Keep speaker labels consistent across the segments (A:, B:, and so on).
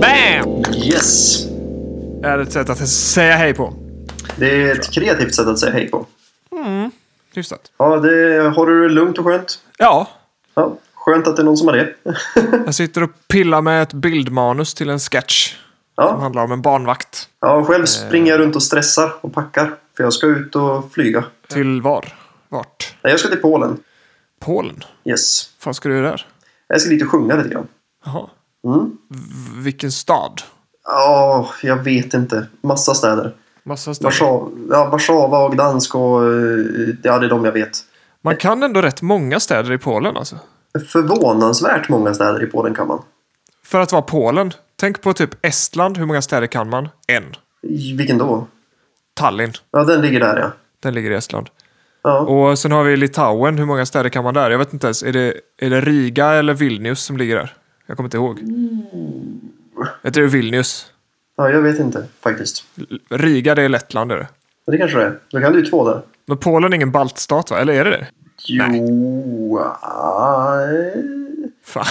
A: Bam!
B: Yes!
A: Är ett sätt att säga hej på.
B: Det är ett kreativt sätt att säga hej på.
A: Hyfsat.
B: Ja, det har du det lugnt och skönt.
A: Ja,
B: Ja, skönt att det är någon som har det.
A: jag sitter och pillar med ett bildmanus till en sketch. Som
B: ja.
A: handlar om en barnvakt.
B: ja, själv springer jag runt och stressar och packar. För jag ska ut och flyga.
A: Till var? Vart?
B: Nej, jag ska till Polen.
A: Polen?
B: Yes.
A: fan ska du göra där?
B: Jag ska dit och sjunga lite grann.
A: Jaha.
B: Mm.
A: V- vilken stad?
B: Ja, jag vet inte. Massa städer.
A: Massa städer.
B: Warszawa, ja, Warszawa och Gdansk och... eh, Ja, det är de jag vet.
A: Man kan ändå rätt många städer i Polen alltså.
B: Förvånansvärt många städer i Polen kan man.
A: För att vara Polen. Tänk på typ Estland. Hur många städer kan man? En.
B: I- Vilken då?
A: Tallinn.
B: Ja, den ligger där ja.
A: Den ligger i Estland.
B: Ja,
A: Och sen har vi Litauen. Hur många städer kan man där? Jag vet inte ens. Är det, är det Riga eller Vilnius som ligger där? Jag kommer inte ihåg. Jag tror det är Vilnius.
B: ja jag vet inte faktiskt.
A: L- Riga, det är Lettland. Är det.
B: Men det kanske det är. Då kan du ju två där.
A: Men Polen är ingen baltstat, va? Eller är det det?
B: Jo... aj.
A: Fan.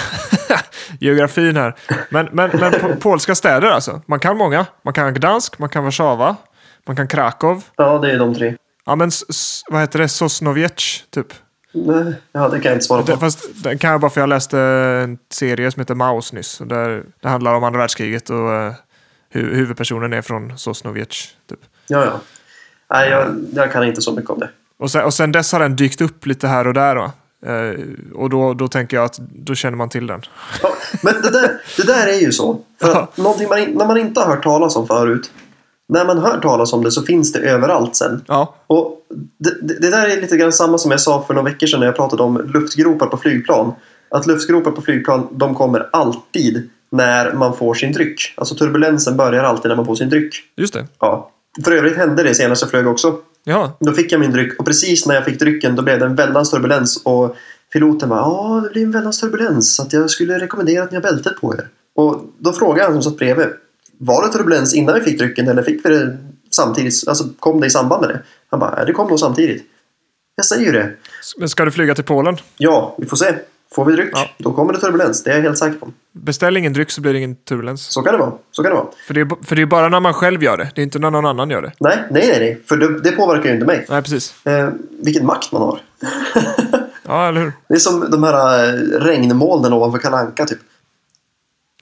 A: Geografin här. Men, men, men po- polska städer alltså. Man kan många. Man kan Gdansk, man kan Warszawa, man kan Krakow.
B: Ja, det är de tre.
A: Ja men, s- s- vad heter det? Sosnowiecz, typ.
B: Nej, ja, det kan jag inte svara
A: Det,
B: på.
A: fast den kan jag bara för jag läste en serie som heter Maus nyss. Och Där det handlar om andra världskriget och eh, hu- huvudpersonen är från Sosnowiecz. Typ.
B: Ja, ja. Nej, jag, jag kan inte så mycket om det.
A: Och, sen, och sen dess har den dykt upp lite här och där. Va? Eh, och då, då tänker jag att då känner man till den.
B: Ja, men det där, det där är ju så. För att någonting man, in- när man inte har hört talas om förut. När man hör talas om det så finns det överallt sen.
A: Ja,
B: Och det, det det där är lite grann samma som jag sa för några veckor sedan när jag pratade om luftgropar på flygplan. Att luftgropar på flygplan, de kommer alltid när man får sin dryck. Alltså turbulensen börjar alltid när man får sin dryck.
A: just det.
B: Ja. För övrigt hände det senast jag flög också.
A: Ja,
B: Då fick jag min dryck och precis när jag fick drycken då blev det en väldans turbulens och piloten bara ja det blir en väldans turbulens så att jag skulle rekommendera att ni har bältet på er. Och då frågade han som satt bredvid var det turbulens innan vi fick drycken eller fick vi det samtidigt? Alltså kom det i samband med det? Han bara "Ja, det kom nog samtidigt. Jag säger ju det.
A: Men ska du flyga till Polen?
B: Ja, vi får se. Får vi dryck,
A: Ja.
B: då kommer det turbulens. Det är jag helt säker på.
A: Beställ ingen dryck så blir det ingen turbulens.
B: Så kan det vara. Så kan det vara.
A: För det, är, b- för det är bara när man själv gör det. Det är inte när någon annan gör det.
B: Nej, nej, nej, nej. För det, det påverkar ju inte mig.
A: Nej, precis.
B: Eh, vilken makt man har.
A: Ja, eller hur?
B: Det är som de här eh, regnmolnen ovanför Kalle Anka typ.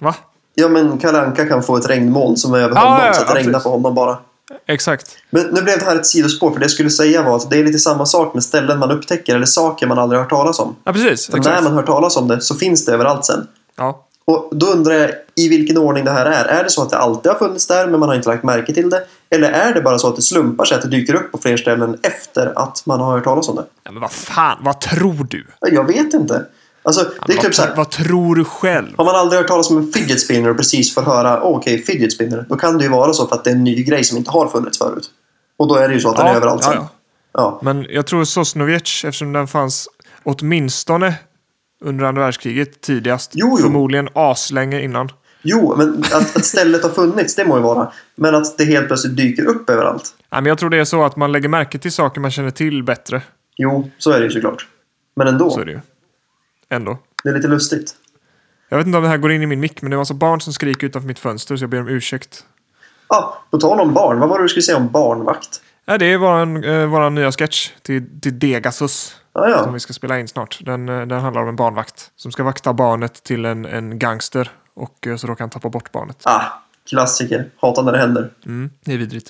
A: Va?
B: Ja, men Kalle Anka kan få ett regnmoln som är över honom,
A: ja, ja,
B: så att det
A: absolut.
B: regnar på honom bara.
A: Exakt.
B: Men nu blev det här ett sidospår, för det jag skulle säga var att det är lite samma sak med ställen man upptäcker eller saker man aldrig hört talas om.
A: Ja, precis.
B: För när
A: Exakt.
B: man hör talas om det så finns det överallt sen.
A: Ja.
B: Och då undrar jag i vilken ordning det här är. Är det så att det alltid har funnits där men man har inte lagt märke till det? Eller är det bara så att det slumpar sig att det dyker upp på fler ställen efter att man har hört talas om det?
A: ja, men vad fan, vad tror du?
B: Jag vet inte. Alltså, det är
A: vad,
B: typ så här.
A: vad tror du själv?
B: Har man aldrig hört talas om en fidget spinner och precis får höra "Åh, okej, fidget spinner, då kan det ju vara så för att det är en ny grej som inte har funnits förut. Och då är det ju så att den är överallt
A: ja,
B: sen.
A: ja.
B: Ja.
A: Men jag tror Sosnowiecz, eftersom den fanns åtminstone under andra världskriget tidigast.
B: Jo, jo.
A: Förmodligen aslänge innan.
B: Jo, men att, att stället har funnits, det må ju vara. Men att det helt plötsligt dyker upp överallt.
A: Nej, men jag tror det är så att man lägger märke till saker man känner till bättre.
B: Jo, så är det ju såklart. Men ändå,
A: Så är det ju. Ändå.
B: det är lite lustigt.
A: Jag vet inte om det här går in i min mick, men det var alltså barn som skriker utanför mitt fönster så jag ber om ursäkt.
B: Ah, på tal om barn, vad var det du skulle säga om barnvakt?
A: Ja, det är våran, eh, våran nya sketch till, till Degasus
B: Ah,
A: som
B: ja,
A: vi ska spela in snart. Den, eh, den handlar om en barnvakt som ska vakta barnet till en, en gangster och eh, så råkar han tappa bort barnet.
B: ah, klassiker. Hatar när det händer.
A: Mm, det är vidrigt.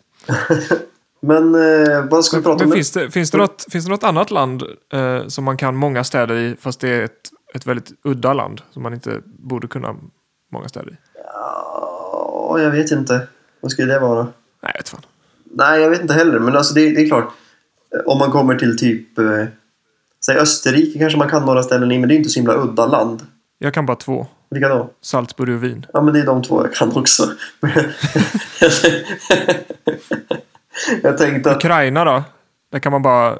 B: Men eh, vad ska vi prata om
A: Men
B: nu?
A: finns det, finns, det något, finns det något annat land eh, som man kan många städer i fast det är ett, ett väldigt udda land som man inte borde kunna många städer i?
B: Ja, Ah, jag vet inte. Vad skulle det vara?
A: Nej, jag vet fan.
B: Nej, jag vet inte heller. Men alltså det, det är klart. eh, Om man kommer till typ eh, säg Österrike kanske man kan några ställen i, men det är inte så himla udda land.
A: Jag kan bara två.
B: Vilka då?
A: Salzburg och Wien.
B: Ja, men det är de två jag kan också. jag tänkte att...
A: Ukraina då? Där kan man bara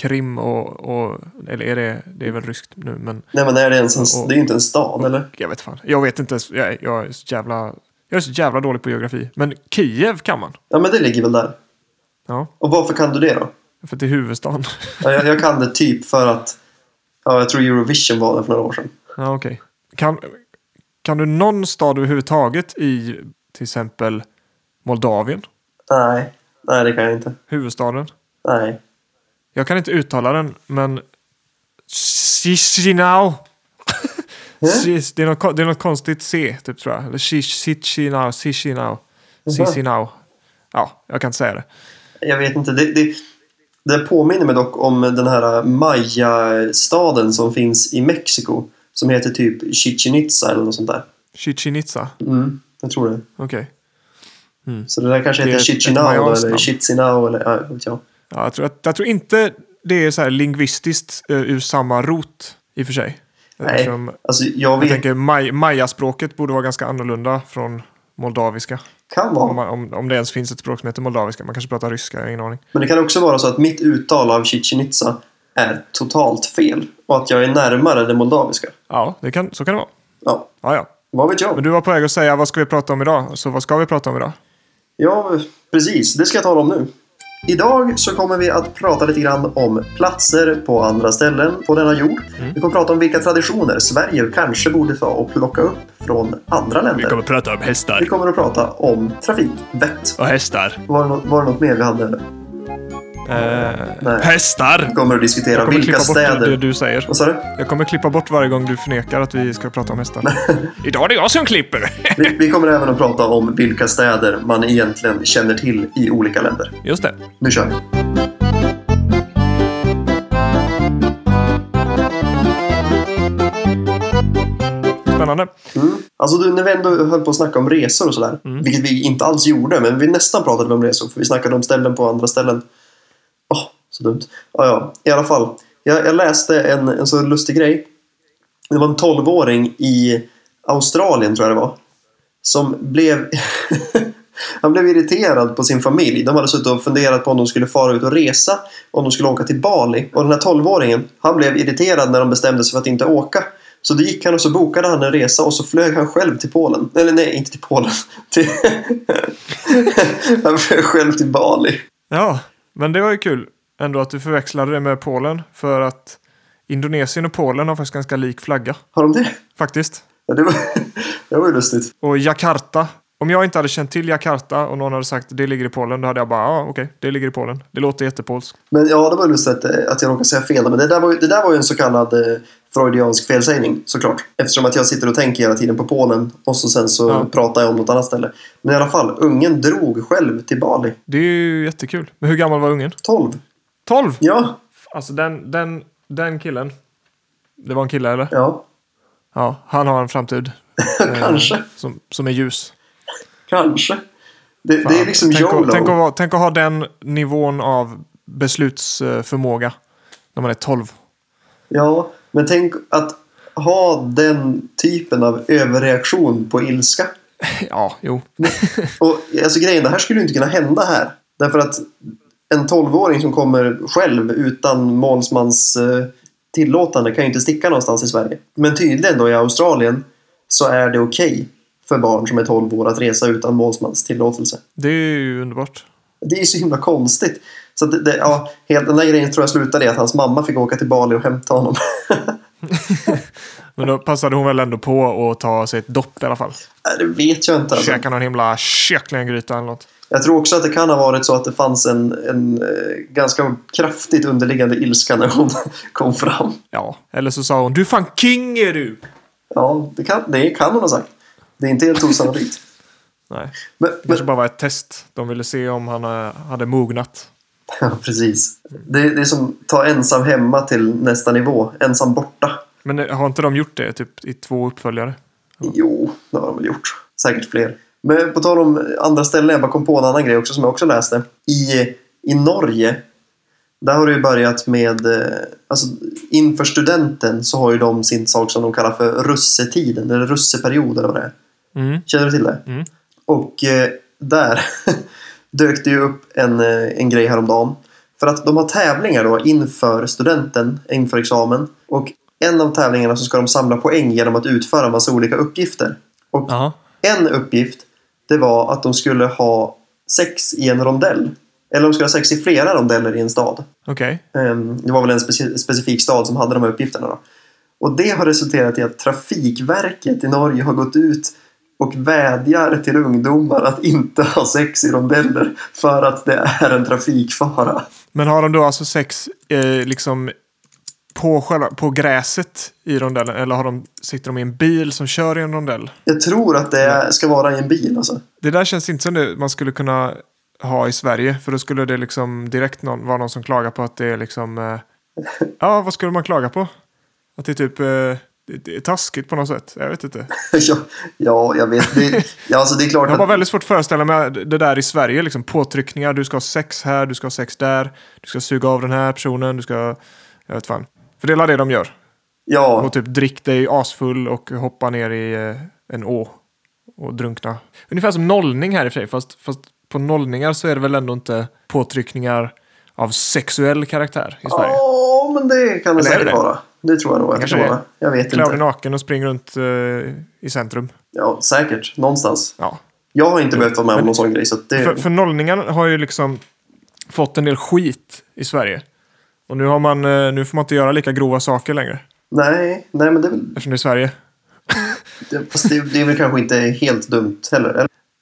A: Krim och, och eller är det, det är väl ryskt nu men
B: Nej, men är det, ens en, det är ju inte en stad, eller?
A: jag vet fan. Jag vet inte ens, jag, jag är så jävla, jag är så jävla dålig på geografi. Men Kiev kan man.
B: Ja, men det ligger väl där.
A: Ja,
B: Och varför kan du det då?
A: för det är huvudstaden.
B: Ja, jag, jag kan det typ för att... Ja, jag tror Eurovision var det för några år sedan.
A: ja, okej. Kan, Kan du någon stad överhuvudtaget i till exempel Moldavien?
B: Nej, nej det kan jag inte.
A: Huvudstaden?
B: Nej.
A: Jag kan inte uttala den, men... Chisinau. Chis- Det är något kon- det är något konstigt C, typ tror jag. Eller Chisinau, Chisinau, Chisinau. Ja, jag kan inte säga det.
B: Jag vet inte. Det, det, det påminner mig dock om den här Maya-staden som finns i Mexiko. Som heter typ Chichen Itza eller något sånt där.
A: Chichen Itza.
B: Mm, jag tror det.
A: Okej.
B: Så det där kanske
A: Mm. Det är
B: heter
A: ett- ett
B: Chichinau
A: mayanskt
B: eller
A: namn.
B: Chitzinau eller ja, jag vet jag.
A: Ja, jag, tror, att- jag tror inte det är så här lingvistiskt eh, ur samma rot i och för sig.
B: Nej,
A: Eftersom
B: alltså jag
A: jag
B: vet.
A: tänker maj, mayaspråket borde vara ganska annorlunda från moldaviska.
B: Kan
A: Om,
B: vara.
A: man, om, om det ens finns ett språk som heter moldaviska. Man kanske pratar ryska, jag har ingen aning.
B: Men det kan också vara så att mitt uttal av Chichen Itza är totalt fel. Och att jag är närmare det moldaviska.
A: Ja, det kan, så kan det vara.
B: Ja,
A: Ja, ja.
B: vad vet jag?
A: Men du var på väg att säga vad ska vi prata om idag? Så vad ska vi prata om idag?
B: Ja, precis. Det ska jag tala om nu. Idag så kommer vi att prata lite grann om platser på andra ställen på denna jord. Vi kommer prata om vilka traditioner Sverige kanske borde ta och plocka upp från andra länder. Vi kommer,
A: prata om hästar
B: att prata om trafikvett.
A: och hästar.
B: Var det, något, var det något mer vi hade? Nej.
A: hästar!
B: Vi kommer att diskutera Eh, vilka
A: bort det
B: städer...
A: du säger.
B: Vad sa du?
A: Jag kommer klippa bort varje gång du förnekar att vi ska prata om hästar. idag är det jag som klipper!
B: Vi, vi kommer även att prata om vilka städer man egentligen känner till i olika länder.
A: Just det.
B: Nu kör vi!
A: Spännande.
B: Alltså du, när vi ändå höll på att snacka om resor och sådär, vilket vi inte alls gjorde, men vi nästan pratade om resor, för vi snackade om ställen på andra ställen. Åh, så dumt. Ja, ja, i alla fall. Jag, jag läste en, en så lustig grej. Det var en 12-åring i Australien, tror jag det var, som blev... Han blev irriterad på sin familj. De hade suttit och funderat på om de skulle fara ut och resa, om de skulle åka till Bali. Och den här 12-åringen, han blev irriterad när de bestämde sig för att inte åka. Så då gick han och så bokade han en resa och så flög han själv till Polen. Eller nej, inte till Polen. Till... han flög själv till Bali.
A: Ja, men det var ju kul ändå att du förväxlade det med Polen. För att Indonesien och Polen har faktiskt ganska lik flagga.
B: Har de det?
A: Faktiskt.
B: Ja, det, var... det var ju lustigt.
A: Och Jakarta. Om jag inte hade känt till Jakarta och någon hade sagt det ligger i Polen, då hade jag bara ja, okej, det ligger i Polen. Det låter jättepolskt.
B: Men ja, det var lustigt att, eh, att jag råkade säga fel. Men det där var ju, det där var ju en så kallad eh, freudiansk felsägning såklart. Eftersom att jag sitter och tänker hela tiden på Polen och så sen så
A: Ja.
B: pratar jag om något annat ställe. Men i alla fall, ungen drog själv till Bali.
A: Det är ju jättekul. Men hur gammal var ungen?
B: 12.
A: 12!
B: Ja,
A: Alltså den, den, den killen. Det var en kille eller?
B: ja,
A: Ja, han har en framtid. eh,
B: Kanske.
A: Som, som är ljus.
B: kanske. Det, det är liksom
A: tänk,
B: YOLO.
A: att, tänk, att, vara- tänk att ha den nivån av beslutsförmåga när man är 12.
B: Ja, men tänk att ha den typen av överreaktion på ilska.
A: Ja, jo.
B: Och alltså grejen, det här skulle ju inte kunna hända här. Därför att en 12-åring som kommer själv utan målsmans eh, tillåtande kan ju inte sticka någonstans i Sverige. Men tydligen då i Australien så är det okej för barn som är 12 år att resa utan målsmans tillåtelse.
A: Det är ju underbart.
B: Det är ju så himla konstigt. Så att det, det, ja, helt, den där grejen tror jag slutade i att hans mamma fick åka till Bali och hämta honom.
A: Men då passade hon väl ändå på att ta sig ett dopp i alla fall.
B: Nej, det vet jag inte. Alltså.
A: Käka någon himla kycklinggryta eller något.
B: Jag tror också att det kan ha varit så att det fanns en, en eh, ganska kraftigt underliggande ilska när hon kom fram.
A: Ja, eller så sa hon du fan king är du!
B: Ja, det kan, det kan hon ha sagt. Det är inte helt osannolikt.
A: Nej,
B: Men,
A: det
B: men,
A: kanske bara var ett test. De ville se om han eh, hade mognat.
B: ja, precis. Det, det är som ta ensam hemma till nästa nivå. Ensam borta.
A: Men eh, har inte de gjort det typ i två uppföljare?
B: Jo, det har de väl gjort. Säkert fler. Men på tal om andra ställen, jag bara kom på en annan grej också som jag också läste. I, i Norge, där har det ju börjat med... eh, Alltså, inför studenten så har ju de sin sak som de kallar för russetiden, eller russeperiod eller vad det är.
A: Mm.
B: Känner du till det?
A: Mm.
B: Och eh, där dök det ju upp en, eh, en grej häromdagen. För att de har tävlingar då inför studenten, inför examen. Och en av tävlingarna så ska de samla poäng genom att utföra en massa olika uppgifter. Och
A: Aha.
B: en uppgift, det var att de skulle ha sex i en rondell. Eller de skulle ha sex i flera rondeller i en stad.
A: Okej.
B: Ehm, Det var väl en speci- specifik stad som hade de här uppgifterna. Då. Och det har resulterat i att Trafikverket i Norge har gått ut och vädjar till ungdomar att inte ha sex i rondeller för att det är en trafikfara.
A: Men har de då alltså sex eh, liksom på, själva, på gräset i rondellen? Eller har de, sitter de i en bil som kör i en rondell?
B: Jag tror att det ska vara i en bil alltså.
A: Det där känns inte som det man skulle kunna ha i Sverige. För då skulle det liksom direkt någon, vara någon som klagar på att det är liksom... Eh, ja, vad skulle man klaga på? Att det är typ... Eh, det- det är taskigt på något sätt. Jag vet inte.
B: ja, ja, jag vet. Det, ja, alltså, det är klart
A: Jag har bara
B: att...
A: väldigt svårt att föreställa mig det där i Sverige. Liksom, påtryckningar, du ska ha sex här, du ska ha sex där. Du ska suga av den här personen, du ska... Jag vet fan. För det är det de gör.
B: Ja,
A: Och typ drick dig asfull och hoppa ner i eh, en å och drunkna. Ungefär som nollning här i och för sig, fast, fast på nollningar så är det väl ändå inte påtryckningar av sexuell karaktär i Sverige.
B: ja men det kan det
A: Eller är det
B: säkert
A: det?
B: vara. Det tror jag nog att det
A: Kanske
B: kan
A: det.
B: vara. Jag vet
A: Klä av dig
B: inte.
A: naken och spring runt eh, i centrum.
B: Ja, säkert. Någonstans.
A: Ja.
B: Jag har inte behövt vara med om någon sån grej. Så att det...
A: För, för nollningarna har ju liksom fått en del skit i Sverige. Och nu, har man, eh, nu får man inte göra lika grova saker längre.
B: Nej, nej, men det är väl...
A: Eftersom det är Sverige.
B: det- Fast det, det är väl kanske inte helt dumt heller.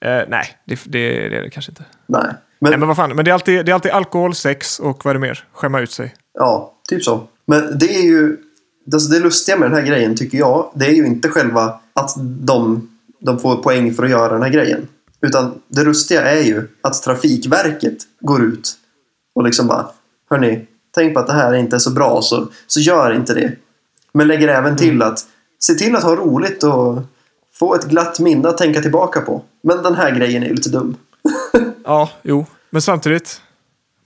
B: Eller?
A: Eh, nej, det, det, det är det kanske inte.
B: Nej. Men,
A: Nej, men vad fan. Men det är, alltid, det är alltid alkohol, sex och vad är det mer? Skämma ut sig.
B: Ja, typ så. Men det är ju... Alltså det lustiga med den här grejen, tycker jag, det är ju inte själva att de, de får poäng för att göra den här grejen. Utan det lustiga är ju att Trafikverket går ut och liksom bara Hörni, tänk på att det här inte är så bra, så, så gör inte det. Men lägger även till
A: Mm.
B: att se till att ha roligt och få ett glatt minne att tänka tillbaka på. Men den här grejen är ju lite dum.
A: Ja, jo. Men samtidigt.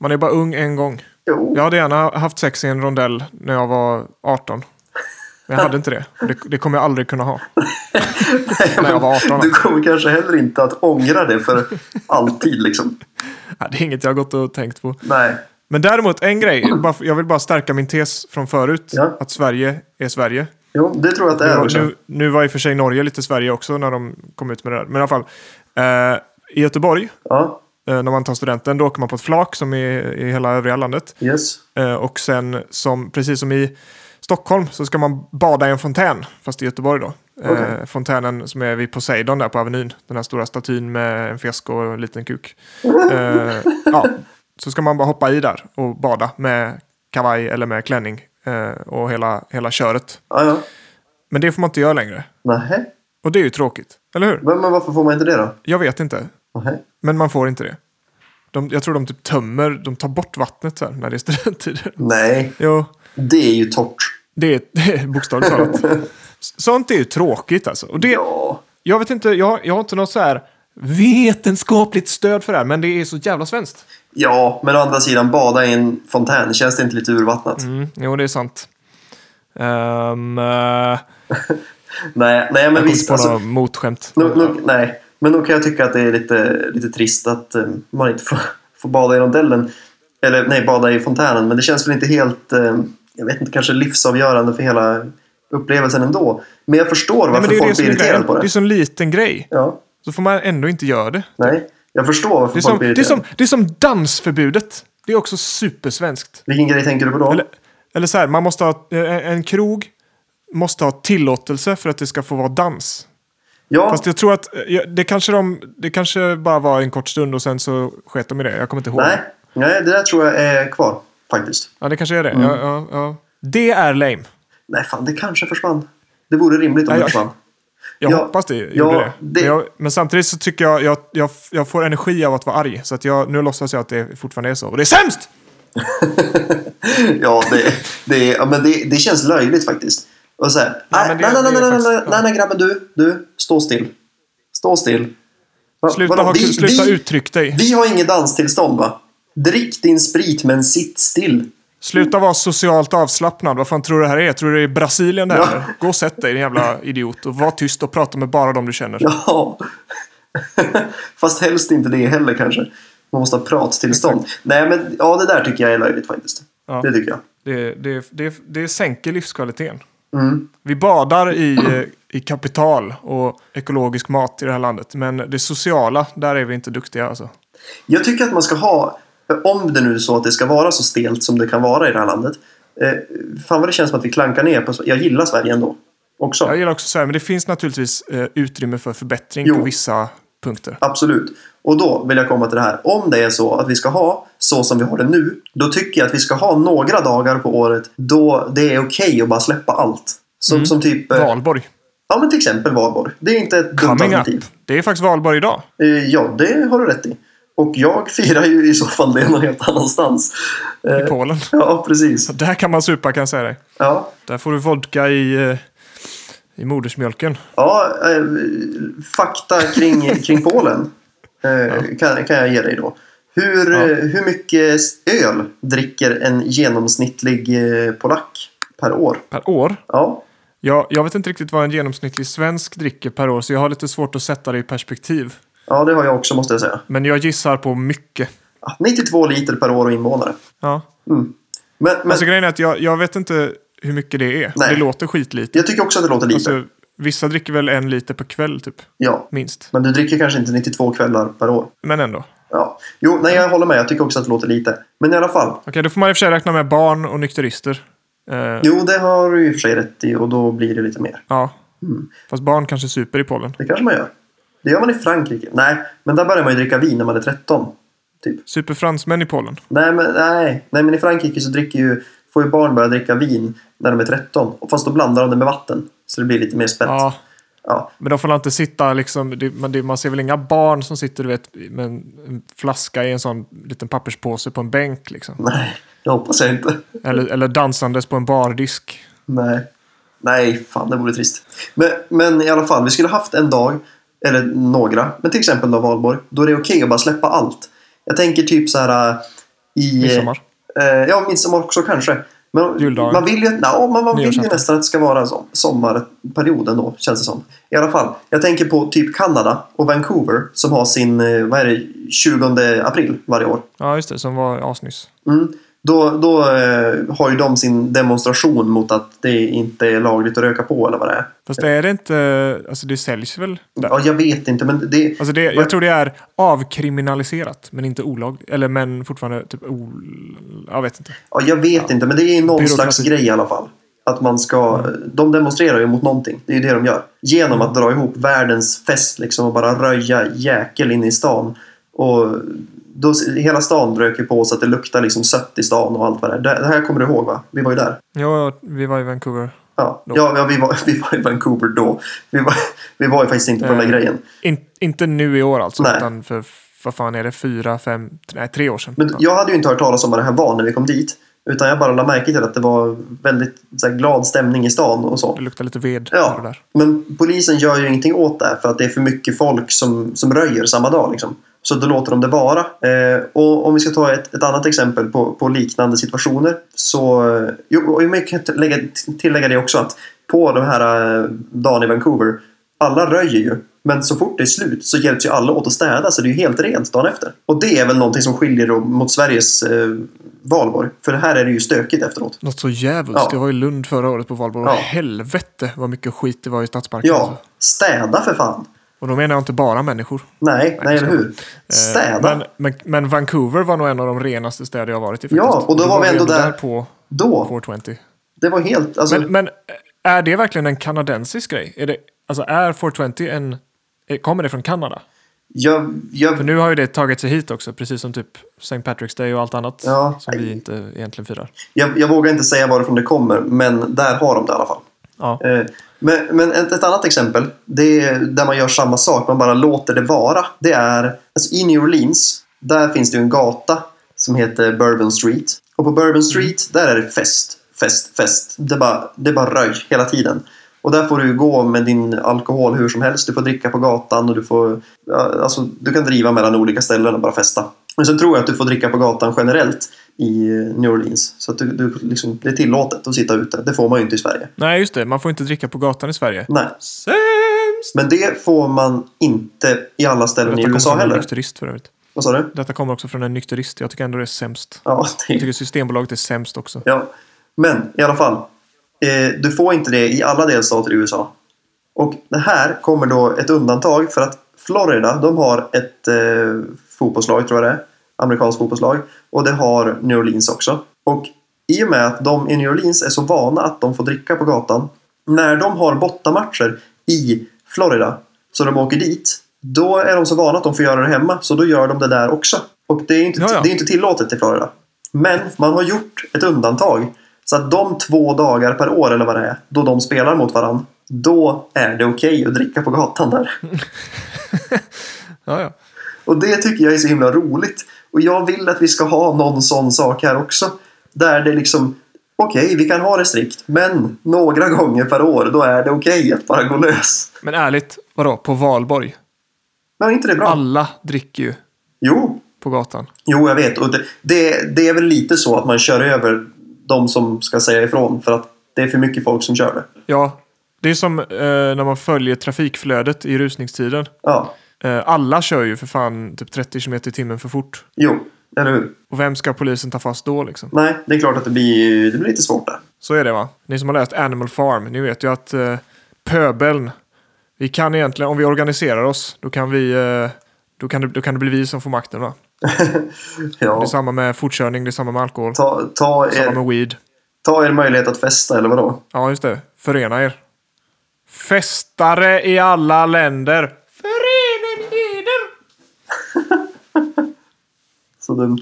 A: Man är bara ung en gång.
B: Jo.
A: Jag hade gärna haft sex i en rondell när jag var 18. Men jag hade inte det. Och Det, det kommer jag aldrig kunna ha. När jag var 18.
B: Du kommer kanske heller inte att ångra det för alltid liksom.
A: Ja, Det är inget jag har gått och tänkt på.
B: Nej.
A: Men däremot en grej. bara för- Jag vill bara stärka min tes från förut.
B: Ja.
A: Att Sverige är Sverige.
B: Jo, det tror jag att det
A: Nu,
B: är.
A: var-
B: också.
A: nu, nu var i och för sig Norge lite Sverige också när de kom ut med det där. Men i alla fall. Eh, I Göteborg,
B: Ja,
A: eh, när man tar studenten, då åker man på ett flak som i, i hela övriga landet.
B: yes.
A: Eh, Och sen, som, precis som i Stockholm, så ska man bada i en fontän. Fast i Göteborg då. Eh,
B: Okej.
A: Fontänen som är vid Poseidon där på Avenyn. Den här stora statyn med en fisk och en liten kuk. Eh, ja. Så ska man bara hoppa i där och bada med kavaj eller med klänning. eh, Och hela, hela köret.
B: Ja, ja.
A: Men det får man inte göra längre.
B: Nähä.
A: Och det är ju tråkigt. Eller hur?
B: Men, men varför får man inte det då?
A: Jag vet inte.
B: Nähä.
A: Men man får inte det. De, jag tror de typ tömmer, de tar bort vattnet så här när det är studenttider.
B: Nej,
A: Jo.
B: det är ju torrt.
A: Det är, det är bokstavligt talat. Sånt är ju tråkigt alltså. Och det,
B: Ja.
A: jag vet inte, jag, har- jag har inte något så här vetenskapligt stöd för det här, men det är så jävla svenskt.
B: Ja, men å andra sidan, bada i en fontän, känns det inte lite urvattnat?
A: Mm, jo, det är sant. Ehm, eh,
B: Nej, nej, men
A: jag
B: visst.
A: visst, på
B: Alltså,
A: några motskämt.
B: nu, nu, nej, men nog kan jag tycka att det är lite, lite trist att eh, man inte får, får bada i rondellen. Eller nej, bada i fontänen. Men det känns väl inte helt, eh, jag vet inte, kanske livsavgörande för hela upplevelsen ändå. Men jag förstår
A: Nej, men
B: varför
A: det är ju det
B: folk
A: som är
B: blir irriterade
A: grejen.
B: på
A: Det är
B: det.
A: så en liten grej.
B: Ja,
A: Så får man ändå inte göra det.
B: nej. Jag förstår varför
A: Det är
B: folk
A: som,
B: blir
A: det är
B: irriterade.
A: som, det är som dansförbudet. Det är också supersvenskt.
B: Vilken grej tänker du på då?
A: Eller, eller så här, man måste ha, en, en krog måste ha tillåtelse för att det ska få vara dans.
B: ja,
A: Fast jag tror att eh, ja, det kanske, de, det kanske bara var en kort stund och sen så sket de i det. Jag kommer inte ihåg.
B: nej, nej, det där tror jag är kvar faktiskt.
A: Ja, det kanske är det.
B: Mm.
A: Ja, ja, ja. Det är lame.
B: Nej, fan, det kanske försvann. Det vore rimligt om
A: Nej,
B: det
A: jag-
B: försvann.
A: Jag
B: Ja,
A: hoppas det gjorde
B: ja,
A: det.
B: det-
A: Men, jag, men samtidigt så tycker jag jag, jag jag får energi av att vara arg. Så att jag, nu låtsas jag att det fortfarande är så. Och det är sämst!
B: Ja, det, det, ja, men det, det känns löjligt faktiskt. Och så här,
A: Ja,
B: nej,
A: men det-
B: nej, nej,
A: det
B: nej,
A: är
B: nej, nej,
A: faktiskt-
B: nej, nej, grabben, du, du, stå still. Stå still. Va,
A: Sluta,
B: vadå?
A: ha,
B: vi,
A: sluta
B: vi,
A: uttryck dig.
B: vi har inget danstillstånd, va? Drick din sprit, men sitt still.
A: Sluta vara socialt avslappnad. Vad fan tror du det här är? Tror du det är Brasilien det här?
B: Ja.
A: eller? Gå och sätt dig din jävla idiot. Och var tyst och prata med bara de du känner.
B: Ja. Fast helst inte det heller kanske. Man måste ha prattillstånd. Nej, men ja, det där tycker jag är löjligt faktiskt.
A: Ja.
B: Det tycker jag.
A: Det, det, det, det sänker livskvaliteten.
B: Mm.
A: Vi badar i, eh, i kapital och ekologisk mat i det här landet. Men det sociala, där är vi inte duktiga alltså.
B: Jag tycker att man ska ha, om det nu är så att det ska vara så stelt som det kan vara i det här landet, Eh, fan vad det känns som att vi klankar ner på Jag gillar Sverige ändå. Också.
A: Jag gillar också Sverige, men det finns naturligtvis eh, utrymme för förbättring
B: Jo.
A: på vissa punkter.
B: Absolut. Och då vill jag komma till det här. Om det är så att vi ska ha så som vi har det nu, då tycker jag att vi ska ha några dagar på året då det är okej att bara släppa allt. Som,
A: Mm.
B: som typ... eh,
A: Valborg.
B: Ja, men till exempel valborg. Det är inte ett dumt
A: Coming up.
B: alternativ.
A: Det är faktiskt valborg idag.
B: Eh, Ja, det har du rätt i. Och jag firar ju i så fall det någon helt annanstans. Eh,
A: I Polen.
B: Ja, precis.
A: Så där kan man supa kan jag säga dig.
B: Ja,
A: Där får du vodka i, eh, i modersmjölken.
B: ja eh, fakta kring, kring Polen eh, kan, kan jag ge dig då. Hur,
A: Ja.
B: eh, hur mycket öl dricker en genomsnittlig eh, polack per år?
A: Per år.
B: Ja,
A: Jag, jag vet inte riktigt vad en genomsnittlig svensk dricker per år, så jag har lite svårt att sätta det i perspektiv.
B: ja det har jag också måste jag säga.
A: Men jag gissar på mycket.
B: Ah, 92 liter per år och invånare.
A: Ja.
B: Mm. Men, men
A: Alltså grejen är att jag, jag vet inte hur mycket det är.
B: Nej.
A: Det låter skitlite.
B: jag tycker också att det låter lite.
A: Alltså, vissa dricker väl en liter per kväll typ.
B: ja.
A: Minst.
B: Men du dricker kanske inte 92 kvällar per år.
A: Men ändå.
B: Ja. Jo, nej, jag håller med. Jag tycker också att det låter lite. Men i alla fall.
A: Okej, då får man i och för sig räkna med barn och nykterister. Eh,
B: Jo, det har du i och för sig rätt i och då blir det lite mer.
A: ja.
B: Mm.
A: Fast barn kanske super i Polen.
B: Det kanske man gör. Det gör man i Frankrike. Nej, men där börjar man ju dricka vin när man är 13. Typ.
A: Super fransmän i Polen.
B: Nej, men, nej. nej, men i Frankrike så dricker ju, får ju barn börja dricka vin när de är 13. Och Fast då blandar de det med vatten. Så det blir lite mer spänt. Ja.
A: Ja. Men de får inte sitta liksom, det, man, det, man ser väl inga barn som sitter du vet, med en, en flaska i en sån liten papperspåse på en bänk. Liksom.
B: Nej, det hoppas jag inte.
A: Eller, eller dansandes på en bardisk.
B: Nej. Nej, fan det vore trist. Men, men i alla fall, vi skulle haft en dag, eller några, men till exempel då valborg, då är det okej att bara släppa allt. Jag tänker typ så här äh, i...
A: Midsommar.
B: Eh, ja, midsommar också kanske. Men
A: Juldagen.
B: man vill ju, no, man, man vill ju
A: Nyårsafton.
B: nästan att det ska vara som, sommarperioden då, känns det som. I alla fall, jag tänker på typ Kanada och Vancouver som har sin, eh, vad är det, 20 april varje år.
A: Ja, just det. Som var asnyss.
B: Mm. Då, då eh, har ju de sin demonstration mot att det inte är lagligt att röka på eller vad det är.
A: Fast är det inte... Alltså det säljs väl? Där.
B: Ja, jag vet inte, men det...
A: Alltså det, jag tror det är avkriminaliserat, men inte olagligt. Eller men fortfarande typ ol... Jag vet inte.
B: Ja, jag vet inte, men det är någon
A: Byråkrati.
B: slags grej i alla fall. Att man ska... De demonstrerar ju mot någonting. Det är ju det de gör. Genom att dra ihop världens fest liksom och bara röja jäkel in i stan. Och då, hela stan röker på så att det luktar liksom sött i stan och allt vad det är. Det det här kommer du ihåg va? Vi var ju där.
A: Ja, vi var i Vancouver.
B: Ja, ja, ja vi, var, vi var i Vancouver då. Vi var, vi var ju faktiskt inte på den där
A: Eh.
B: grejen.
A: In, inte nu i år alltså,
B: Nej.
A: utan för... Vad fan är det? Fyra, fem... Nej, tre år sedan.
B: Men jag hade ju inte hört talas om vad det här var när vi kom dit. Utan jag bara lade märke till att det var väldigt så här, glad stämning i stan och så.
A: Det luktar lite ved. här och
B: Ja,
A: Där.
B: men polisen gör ju ingenting åt det här för att det är för mycket folk som, som röjer samma dag. Liksom. Så då låter de det vara. Eh, och om vi ska ta ett, ett annat exempel på, på liknande situationer. Så, eh, jo, och jag kan lägga, tillägga det också att på de här eh, dagen i Vancouver, alla röjer ju. Men så fort det är slut så hjälps ju alla åt att städa så det är ju helt rent dagen efter. Och det är väl någonting som skiljer då mot Sveriges eh, valborg. För här är det ju stökigt efteråt.
A: Något så djävulskt.
B: Ja.
A: Jag var i Lund förra året på valborg.
B: Ja.
A: Helvete vad mycket skit det var i stadsparken.
B: Ja,
A: alltså.
B: städa för fan!
A: Och då menar jag inte bara människor.
B: Nej, nej, eller hur?
A: Eh,
B: Städa.
A: Men, men, men Vancouver var nog en av de renaste städer jag varit i.
B: Ja,
A: faktiskt.
B: och då var vi ändå där.
A: på
B: Då,
A: 420.
B: det var helt... Alltså,
A: Men, men är det verkligen en kanadensisk grej? Är det, alltså är 420 en... är- Kommer det från Kanada?
B: jag,
A: För
B: jag,
A: nu har ju det tagit sig hit också, precis som typ St. Patrick's Day och allt annat
B: Ja.
A: som vi inte egentligen firar.
B: jag, jag vågar inte säga varifrån det kommer, men där har de det i alla fall.
A: Ja.
B: Eh, Men, men ett, ett annat exempel, det är där man gör samma sak, man bara låter det vara. Det är, alltså i New Orleans, där finns det ju en gata som heter Bourbon Street. Och på Bourbon Street, där är det fest, fest, fest. Det bara, det bara röj hela tiden. Och där får du gå med din alkohol hur som helst. Du får dricka på gatan och du får... ja, Alltså, du kan driva mellan olika ställen och bara festa. Men sen tror jag att du får dricka på gatan generellt i New Orleans. Så att du, du liksom, det är tillåtet att sitta ute. Det får man ju inte i Sverige.
A: Nej, just det. Man får inte dricka på gatan i Sverige.
B: Nej.
A: Sämst!
B: Men det får man inte i alla ställen i
A: Detta kommer
B: USA
A: från en
B: heller.
A: nykterist för övrigt.
B: Vad sa du?
A: Detta kommer också från en nykterist. Jag tycker ändå det är sämst.
B: Ja,
A: Jag
B: det,
A: tycker Systembolaget är sämst också.
B: ja. Men i alla fall. Eh, du får inte det i alla delstater i USA. Och det här kommer då ett undantag för att Florida, de har ett eh, fotbollslag tror jag det är. Amerikanskt fotbollslag. Och det har New Orleans också. Och i och med att de i New Orleans är så vana att de får dricka på gatan. När de har bortamatcher i Florida, så de åker dit, då är de så vana att de får göra det hemma, så då gör de det där också. Och det är ju inte,
A: Ja, ja.
B: Det är inte tillåtet i Florida. Men man har gjort ett undantag. Så att de två dagar per år, eller vad det är, då de spelar mot varandra, då är det okej att dricka på gatan där.
A: Ja, ja.
B: Och det tycker jag är så himla roligt. Och jag vill att vi ska ha någon sån sak här också. Där det liksom, okej, vi kan ha det strikt, men några gånger per år, då är det okej att bara gå lös.
A: Men ärligt, vadå? På valborg?
B: Men är inte det bra?
A: Alla dricker ju
B: Jo,
A: på gatan.
B: jo, jag vet. Och det, det, det är väl lite så att man kör över de som ska säga ifrån för att det är för mycket folk som kör det.
A: Ja, det är som eh, när man följer trafikflödet i rusningstiden.
B: Ja,
A: Eh, alla kör ju för fan typ 30 km i timmen för fort.
B: jo, eller hur?
A: Och vem ska polisen ta fast då liksom?
B: Nej, det är klart att det blir, det blir lite svårt där.
A: Så är det va? Ni som har läst Animal Farm, ni vet ju att eh, pöbeln, vi kan egentligen, om vi organiserar oss, då kan vi, eh, då kan det, då kan det bli vi som får makten va? Det är
B: Ja,
A: samma med fortkörning, det är samma med alkohol,
B: ta, ta,
A: samma
B: er,
A: med weed.
B: ta er möjlighet att festa, eller vadå?
A: Ja, just det. Förena er. Festare i alla länder. Förenen eder.
B: Så dumt.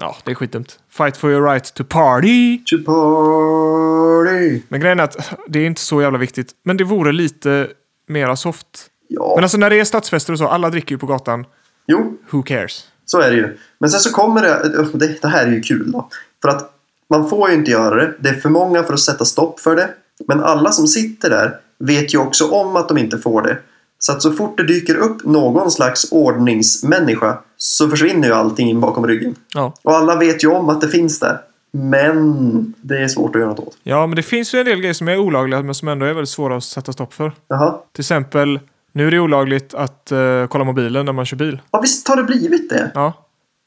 A: Ja, det är skitdumt. Fight for your right to party.
B: To party!
A: Men grejen är att det är inte så jävla viktigt. Men det vore lite mera soft.
B: Ja,
A: Men alltså när det är stadsfester och så, alla dricker ju på gatan.
B: jo,
A: Who cares?
B: så är det ju. Men sen så kommer det, eh, det... Det här är ju kul då. För att man får ju inte göra det. Det är för många för att sätta stopp för det. Men alla som sitter där vet ju också om att de inte får det. Så att så fort det dyker upp någon slags ordningsmänniska så försvinner ju allting in bakom ryggen.
A: Ja.
B: Och alla vet ju om att det finns där. Men det är svårt att göra något åt.
A: ja, men det finns ju en del grejer som är olagliga men som ändå är väldigt svåra att sätta stopp för.
B: Jaha.
A: Till exempel, nu är det olagligt att eh, kolla mobilen när man kör bil.
B: Ja, visst har det blivit det.
A: Ja.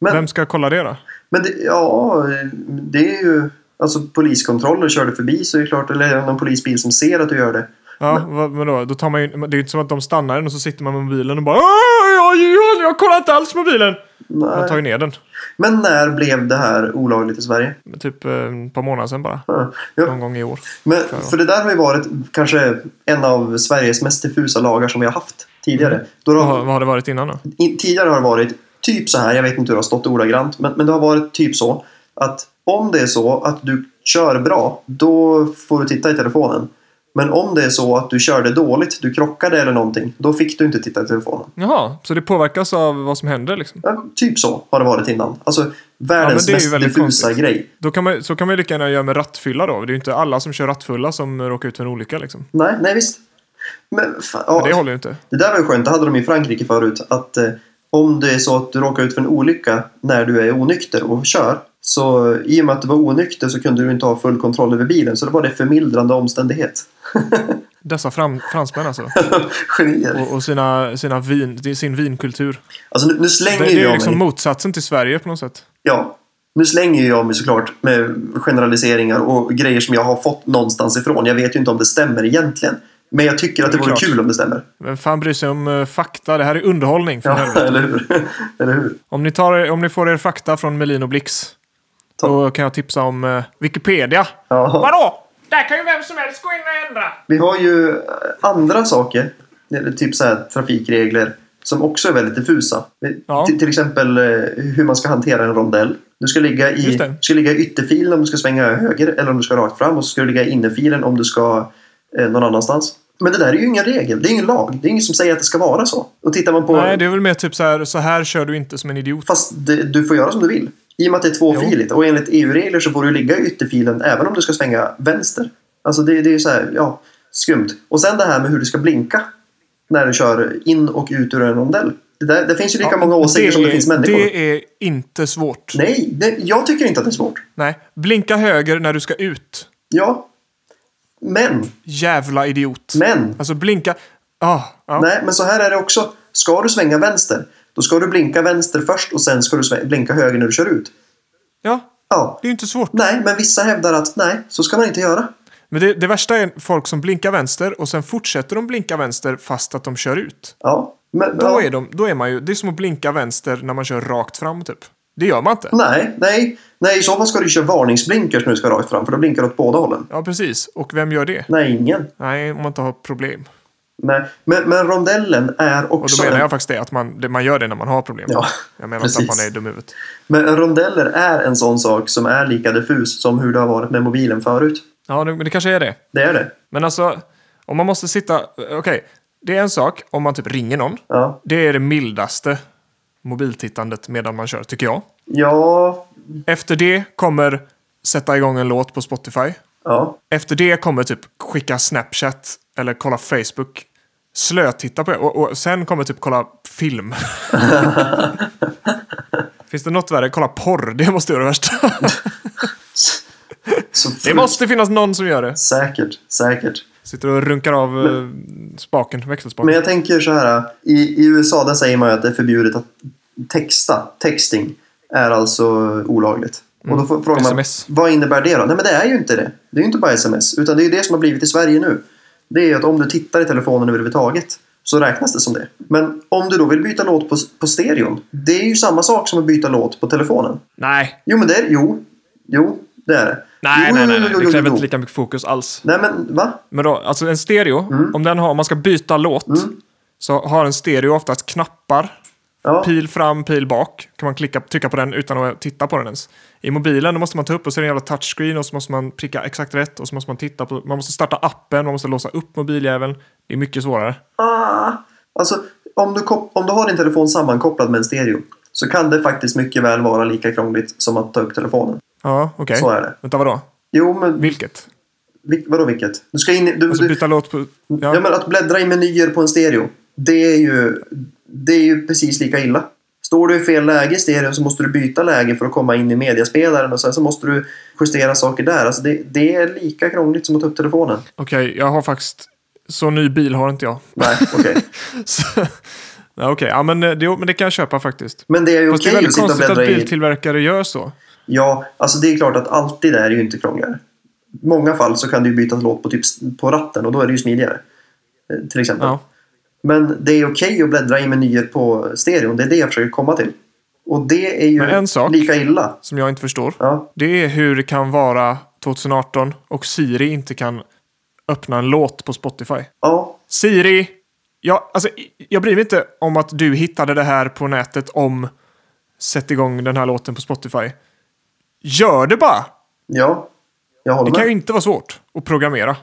B: Men-
A: Vem ska kolla det då?
B: Men det, ja, det är ju... Alltså poliskontroller kör du förbi så är det klart, eller någon polisbil som ser att du gör det.
A: Ja, vad, men då, då tar man ju, det är ju inte som att de stannar en och så sitter man med mobilen och bara "Åh, jag, jag, jag kollar inte alls mobilen. Man tar
B: Nej.
A: ju ner den.
B: Men när blev det här olagligt i Sverige?
A: Typ eh, ett par månader sedan bara.
B: Ja. Ja,
A: Någon gång i år.
B: men, för det där har ju varit kanske en av Sveriges mest diffusa lagar som vi har haft tidigare. Då
A: Vad, har-
B: har,
A: vad har det varit innan då?
B: i, tidigare har det varit typ så här, jag vet inte hur det har stått ordagrant, men, men det har varit typ så att om det är så att du kör bra, då får du titta i telefonen. Men om det är så att du körde dåligt, du krockade eller någonting, då fick du inte titta i telefonen.
A: Jaha, så det påverkas av vad som händer liksom?
B: Ja, typ så har det varit innan. Alltså
A: Ja, men
B: världens
A: det är ju
B: mest
A: väldigt
B: diffusa
A: konstigt.
B: grej.
A: Då kan man, så kan man ju lika gärna göra med rattfylla då. Det är ju inte alla som kör rattfulla som råkar ut för en olycka liksom.
B: Nej, nej visst. Men, fan, ja,
A: Men det
B: det,
A: håller ju inte.
B: där var ju skönt. Det hade de i Frankrike förut. Att eh, om det är så att du råkar ut för en olycka när du är onykter och kör. Så i och med att du var onykter så kunde du inte ha full kontroll över bilen. Så det var det förmildrande omständighet.
A: Dessa fram, fransmän alltså.
B: Genier.
A: Och, och sina, sina vin, sin vinkultur.
B: Alltså nu, nu
A: Det,
B: slänger
A: det är
B: ju
A: ju
B: jag
A: liksom
B: mig.
A: motsatsen till Sverige på något sätt.
B: Ja. Nu slänger ju jag mig såklart med generaliseringar och grejer som jag har fått någonstans ifrån. Jag vet ju inte om det stämmer egentligen. Men jag tycker att
A: Det
B: det
A: är
B: vore
A: klart.
B: kul om det stämmer.
A: Vem fan bryr sig om eh, fakta? Det här är underhållning. För
B: Ja,
A: helvete.
B: eller hur? eller hur?
A: Om ni, tar, om ni får er fakta från Melin och Blix.
B: Ta-
A: Då kan jag tipsa om eh, Wikipedia.
B: Ja.
A: Vadå? Där kan ju vem som helst gå in och ändra.
B: Vi har ju eh, andra saker, eller typ så här trafikregler, som också är väldigt diffusa. Vi-
A: Ja.
B: Till- till exempel eh, hur man ska hantera en rondell. Du ska ligga i,
A: Just det.
B: du ska ligga i ytterfilen om du ska svänga höger eller om du ska rakt fram och så ska du ligga i innerfilen om du ska eh, någon annanstans. Men det där är ju ingen regel, det är ingen lag, det är ingen som säger att det ska vara så. Och tittar man på...
A: Nej, det är väl mer typ så här, så här kör du inte som en idiot.
B: Fast det, du får göra som du vill. I och med att det är tvåfiligt och enligt EU-regler så får du ligga i ytterfilen även om du ska svänga vänster. Alltså det, det är ju så här, ja, skumt. Och sen det här med hur du ska blinka när du kör in och ut ur en rondell. Det, där, det finns ju lika
A: Ja,
B: många åsikter som det
A: är-
B: finns människor.
A: Det är inte svårt.
B: Nej, det, jag tycker inte att det är svårt.
A: Nej. Blinka höger när du ska ut.
B: Ja. Men,
A: Jävla idiot.
B: men.
A: Alltså blinka... Ah, ja.
B: Nej, men så här är det också. Ska du svänga vänster, då ska du blinka vänster först och sen ska du svä- blinka höger när du kör ut.
A: ja,
B: Ja.
A: det är ju inte svårt.
B: Nej, men vissa hävdar att nej, så ska man inte göra.
A: Men det, det värsta är folk som blinkar vänster och sen fortsätter de blinka vänster fast att de kör ut.
B: Ja. Men,
A: Då
B: ja.
A: är, de, då är man ju... Det är som att blinka vänster när man kör rakt fram typ. Det gör man inte.
B: Nej, nej. Nej, i så fall ska du köra varningsblinkers när du ska rakt fram, för då blinkar det åt båda hållen.
A: Ja, precis. Och vem gör det?
B: Nej, ingen.
A: Nej, om man inte har problem.
B: Nej. Men, men rondellen är
A: Och
B: också...
A: då menar
B: en-
A: jag faktiskt det, att man, det, man gör det när man har problem.
B: Ja,
A: jag menar inte att man
B: precis.
A: är dum i huvudet.
B: Men rondeller är en sån sak som är lika diffus som hur det har varit med mobilen förut.
A: Ja, det, men det kanske är det.
B: Det är det.
A: Men alltså, om man måste sitta... Okej, det är en sak om man typ ringer någon.
B: Ja.
A: Det är det mildaste mobiltittandet medan man kör, tycker jag.
B: Ja.
A: Efter det kommer sätta igång en låt på Spotify.
B: Ja.
A: Efter det kommer typ skicka Snapchat eller kolla Facebook. Slötitta på det. Och, och sen kommer typ kolla film. Finns det något värre? Kolla porr. Det måste vara det värsta.
B: Så
A: Det måste finnas någon som gör det.
B: Säkert, säkert.
A: Sitter och runkar av eh, spaken, växelspaken.
B: Men jag tänker så här. I, i USA där säger man ju att det är förbjudet att texta. Texting är alltså olagligt. Och
A: Mm.
B: då får, frågar man,
A: SMS.
B: vad innebär det då? Nej men det är ju inte det. Det är ju inte bara sms. Utan det är ju det som har blivit i Sverige nu. Det är ju att om du tittar i telefonen överhuvudtaget så räknas det som det. Men om du då vill byta låt på, på stereon. Det är ju samma sak som att byta låt på telefonen.
A: Nej,
B: Jo men det är Jo. Jo, det är det.
A: nej,
B: jo,
A: nej,
B: jo,
A: nej,
B: jo,
A: nej.
B: jo,
A: Det
B: jo,
A: kräver
B: jo.
A: inte lika mycket fokus alls.
B: Nej men va?
A: Men då, alltså en stereo,
B: Mm.
A: om, den har, om man ska byta låt så har en stereo oftast knappar.
B: Ja.
A: Pil fram, pil bak. Kan man klicka, trycka på den utan att titta på den ens. I mobilen då måste man ta upp och så är det en jävla touchscreen och så måste man pricka exakt rätt och så måste man titta på... Man måste starta appen, man måste låsa upp mobiljäveln. Det är mycket svårare.
B: Ah. Alltså, om du, kop- om du har din telefon sammankopplad med en stereo så kan det faktiskt mycket väl vara lika krångligt som att ta upp telefonen.
A: Ja, okej.
B: Så är det.
A: Vänta, vadå?
B: Jo, men
A: Vilket?
B: vil- vadå vilket? Du ska in i, du,
A: Alltså
B: du,
A: byta låt på...
B: ja.
A: Ja,
B: men att bläddra i menyer på en stereo, det är ju, det är ju precis lika illa. Står du i fel läge i stereon så måste du byta läge för att komma in i mediaspelaren och sen så måste du justera saker där. Alltså det, det är lika krångligt som att ta upp telefonen.
A: okej. Jag har faktiskt... Så ny bil har inte jag.
B: Nej, okej.
A: Så, ja, okej, ja, men, eh, det, jo, men det kan jag köpa faktiskt.
B: Men det är ju
A: Fast det är
B: okej att
A: väldigt
B: sitta och
A: konstigt att
B: bläddra i...
A: biltillverkare gör så.
B: Ja, alltså det är klart att alltid är det ju inte krångligare. I många fall så kan du ju byta låt på, typ, på ratten och då är det ju smidigare. eh, Till exempel.
A: Ja.
B: Men det är okej att bläddra i menyer på stereon. Det är det jag försöker komma till. Och det är ju
A: Men en sak-
B: lika illa.
A: Som jag inte förstår.
B: Ja,
A: Det är hur det kan vara 2018 och Siri inte kan öppna en låt på Spotify.
B: ja,
A: Siri! Jag, alltså, i- jag bryr mig inte om att du hittade det här på nätet om sätt igång den här låten på Spotify. Gör det bara!
B: ja. Jag håller
A: Det kan
B: med.
A: ju inte vara svårt att programmera.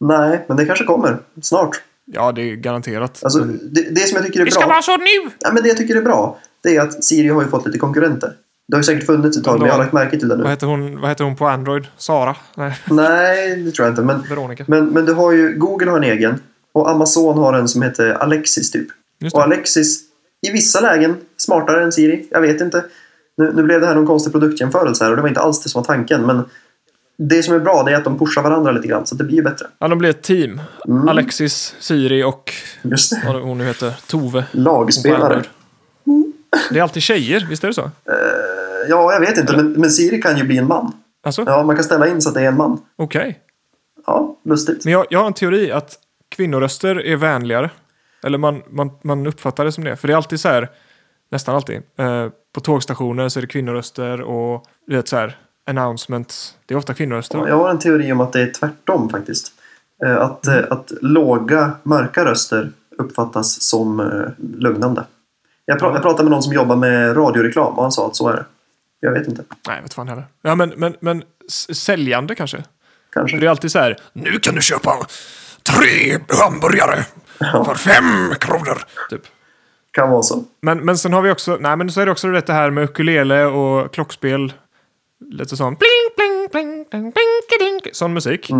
B: Nej, men det kanske kommer snart.
A: Ja, det är garanterat.
B: Alltså, det, det som jag tycker är
A: Det Mm. ska
B: bra,
A: vara så nu!
B: ja, men det jag tycker är bra, det är att Siri har ju fått lite konkurrenter. Det har ju säkert funnits ett tag, men jag har lagt märke till det
A: Vad
B: nu.
A: heter hon, vad heter hon på Android? Sara? Nej,
B: Nej, det tror jag inte. Men
A: Veronica.
B: Men, men du har ju, Google har en egen och Amazon har en som heter Alexis typ.
A: Just
B: Och
A: det.
B: Alexis, i vissa lägen, smartare än Siri. Jag vet inte. Nu, nu blev det här någon konstig produktjämförelse här och det var inte alls det som var tanken. Men det som är bra det är att de pushar varandra lite grann så att det blir ju bättre.
A: Ja, de blir ett team. Alexis, Siri och
B: Just det.
A: vad hon nu heter, Tove.
B: Lagspelare.
A: Android. Det är alltid tjejer, visst är det så?
B: Ja, jag vet inte. Men, men Siri kan ju bli en man.
A: Alltså,
B: Ja, man kan ställa in så att det är en man.
A: okej.
B: Ja, lustigt.
A: Men jag, jag har en teori att kvinnoröster är vänligare. Eller man, man, man uppfattar det som det. För det är alltid så här, nästan alltid, eh, på tågstationer så är det kvinnoröster och du vet så här, announcements. Det är ofta kvinnoröster.
B: Jag har en teori om att det är tvärtom faktiskt. Eh, Att, eh, att låga, mörka röster uppfattas som eh, lugnande. Jag, pra- jag pratade med någon som jobbar med radioreklam och han sa att så är det. Jag vet inte.
A: Nej, vet fan heller. Ja, men, men, men s- säljande kanske.
B: Kanske.
A: För det är alltid så här, nu kan du köpa tre hamburgare för fem kronor. Typ.
B: Kan vara så.
A: Men, men sen har vi också, nej men så är det också det här med ukulele och klockspel. Lite sån pling, pling, pling, pling, pling, kidink, sån musik.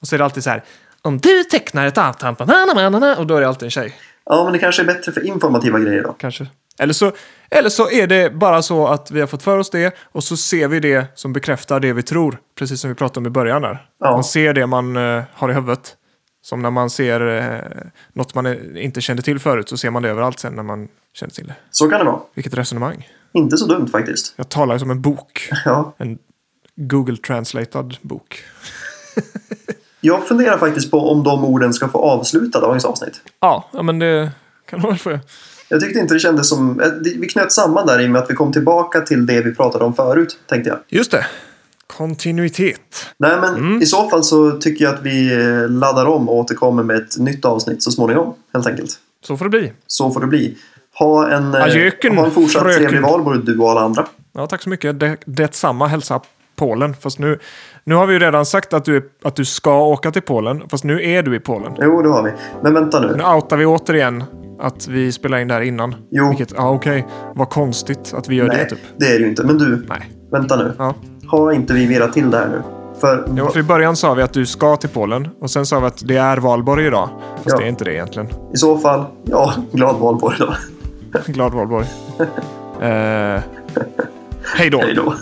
A: Och så är det alltid så här, om du tecknar ett avtal, på na, na, na, na, na, och då är det alltid en tjej,
B: Ja, men det kanske är bättre för informativa grejer då.
A: kanske. Eller så, eller så är det bara så att vi har fått för oss det och så ser vi det som bekräftar det vi tror. Precis som vi pratade om i början där.
B: Ja.
A: Man ser det man eh, har i huvudet. Som när man ser eh, något man eh, inte kände till förut så ser man det överallt sen när man känner till det.
B: Så kan det vara.
A: Vilket resonemang.
B: Inte så dumt faktiskt.
A: Jag talar som en bok.
B: Ja.
A: En Google Translated bok.
B: Jag funderar faktiskt på om de orden ska få avsluta dagens avsnitt.
A: Ja, ja men det kan man väl få.
B: Jag tyckte inte det kändes som... eh, det- Vi knöt samman där i och med att vi kom tillbaka till det vi pratade om förut, tänkte jag.
A: Just det. Kontinuitet.
B: Nej, men
A: Mm.
B: i så fall så tycker jag att vi eh, laddar om och återkommer med ett nytt avsnitt så småningom, helt enkelt.
A: Så får det bli.
B: Så får det bli. Ha en, eh,
A: Adjöken,
B: ha en fortsatt
A: fröken.
B: trevlig valborg, du och alla andra.
A: Ja, tack så mycket. Det, detsamma. Hälsa Polen. Fast nu, nu har vi ju redan sagt att du, är, att du ska åka till Polen. Fast nu är du i Polen.
B: Jo, det har vi. Men vänta nu.
A: Nu outar vi återigen att vi spelar in där innan.
B: Jo.
A: Vilket, ja okej. Vad konstigt att vi gör
B: Nej,
A: det typ.
B: det är det ju inte. Men du,
A: Nej.
B: vänta nu.
A: Ja.
B: Har inte vi virrat till det här nu? För,
A: Jo, för i början sa vi att du ska till Polen. Och sen sa vi att det är valborg idag. Fast
B: Ja.
A: det är inte det egentligen.
B: i så fall, ja, glad valborg då.
A: Glad valborg. eh, hej då.
B: Hej då.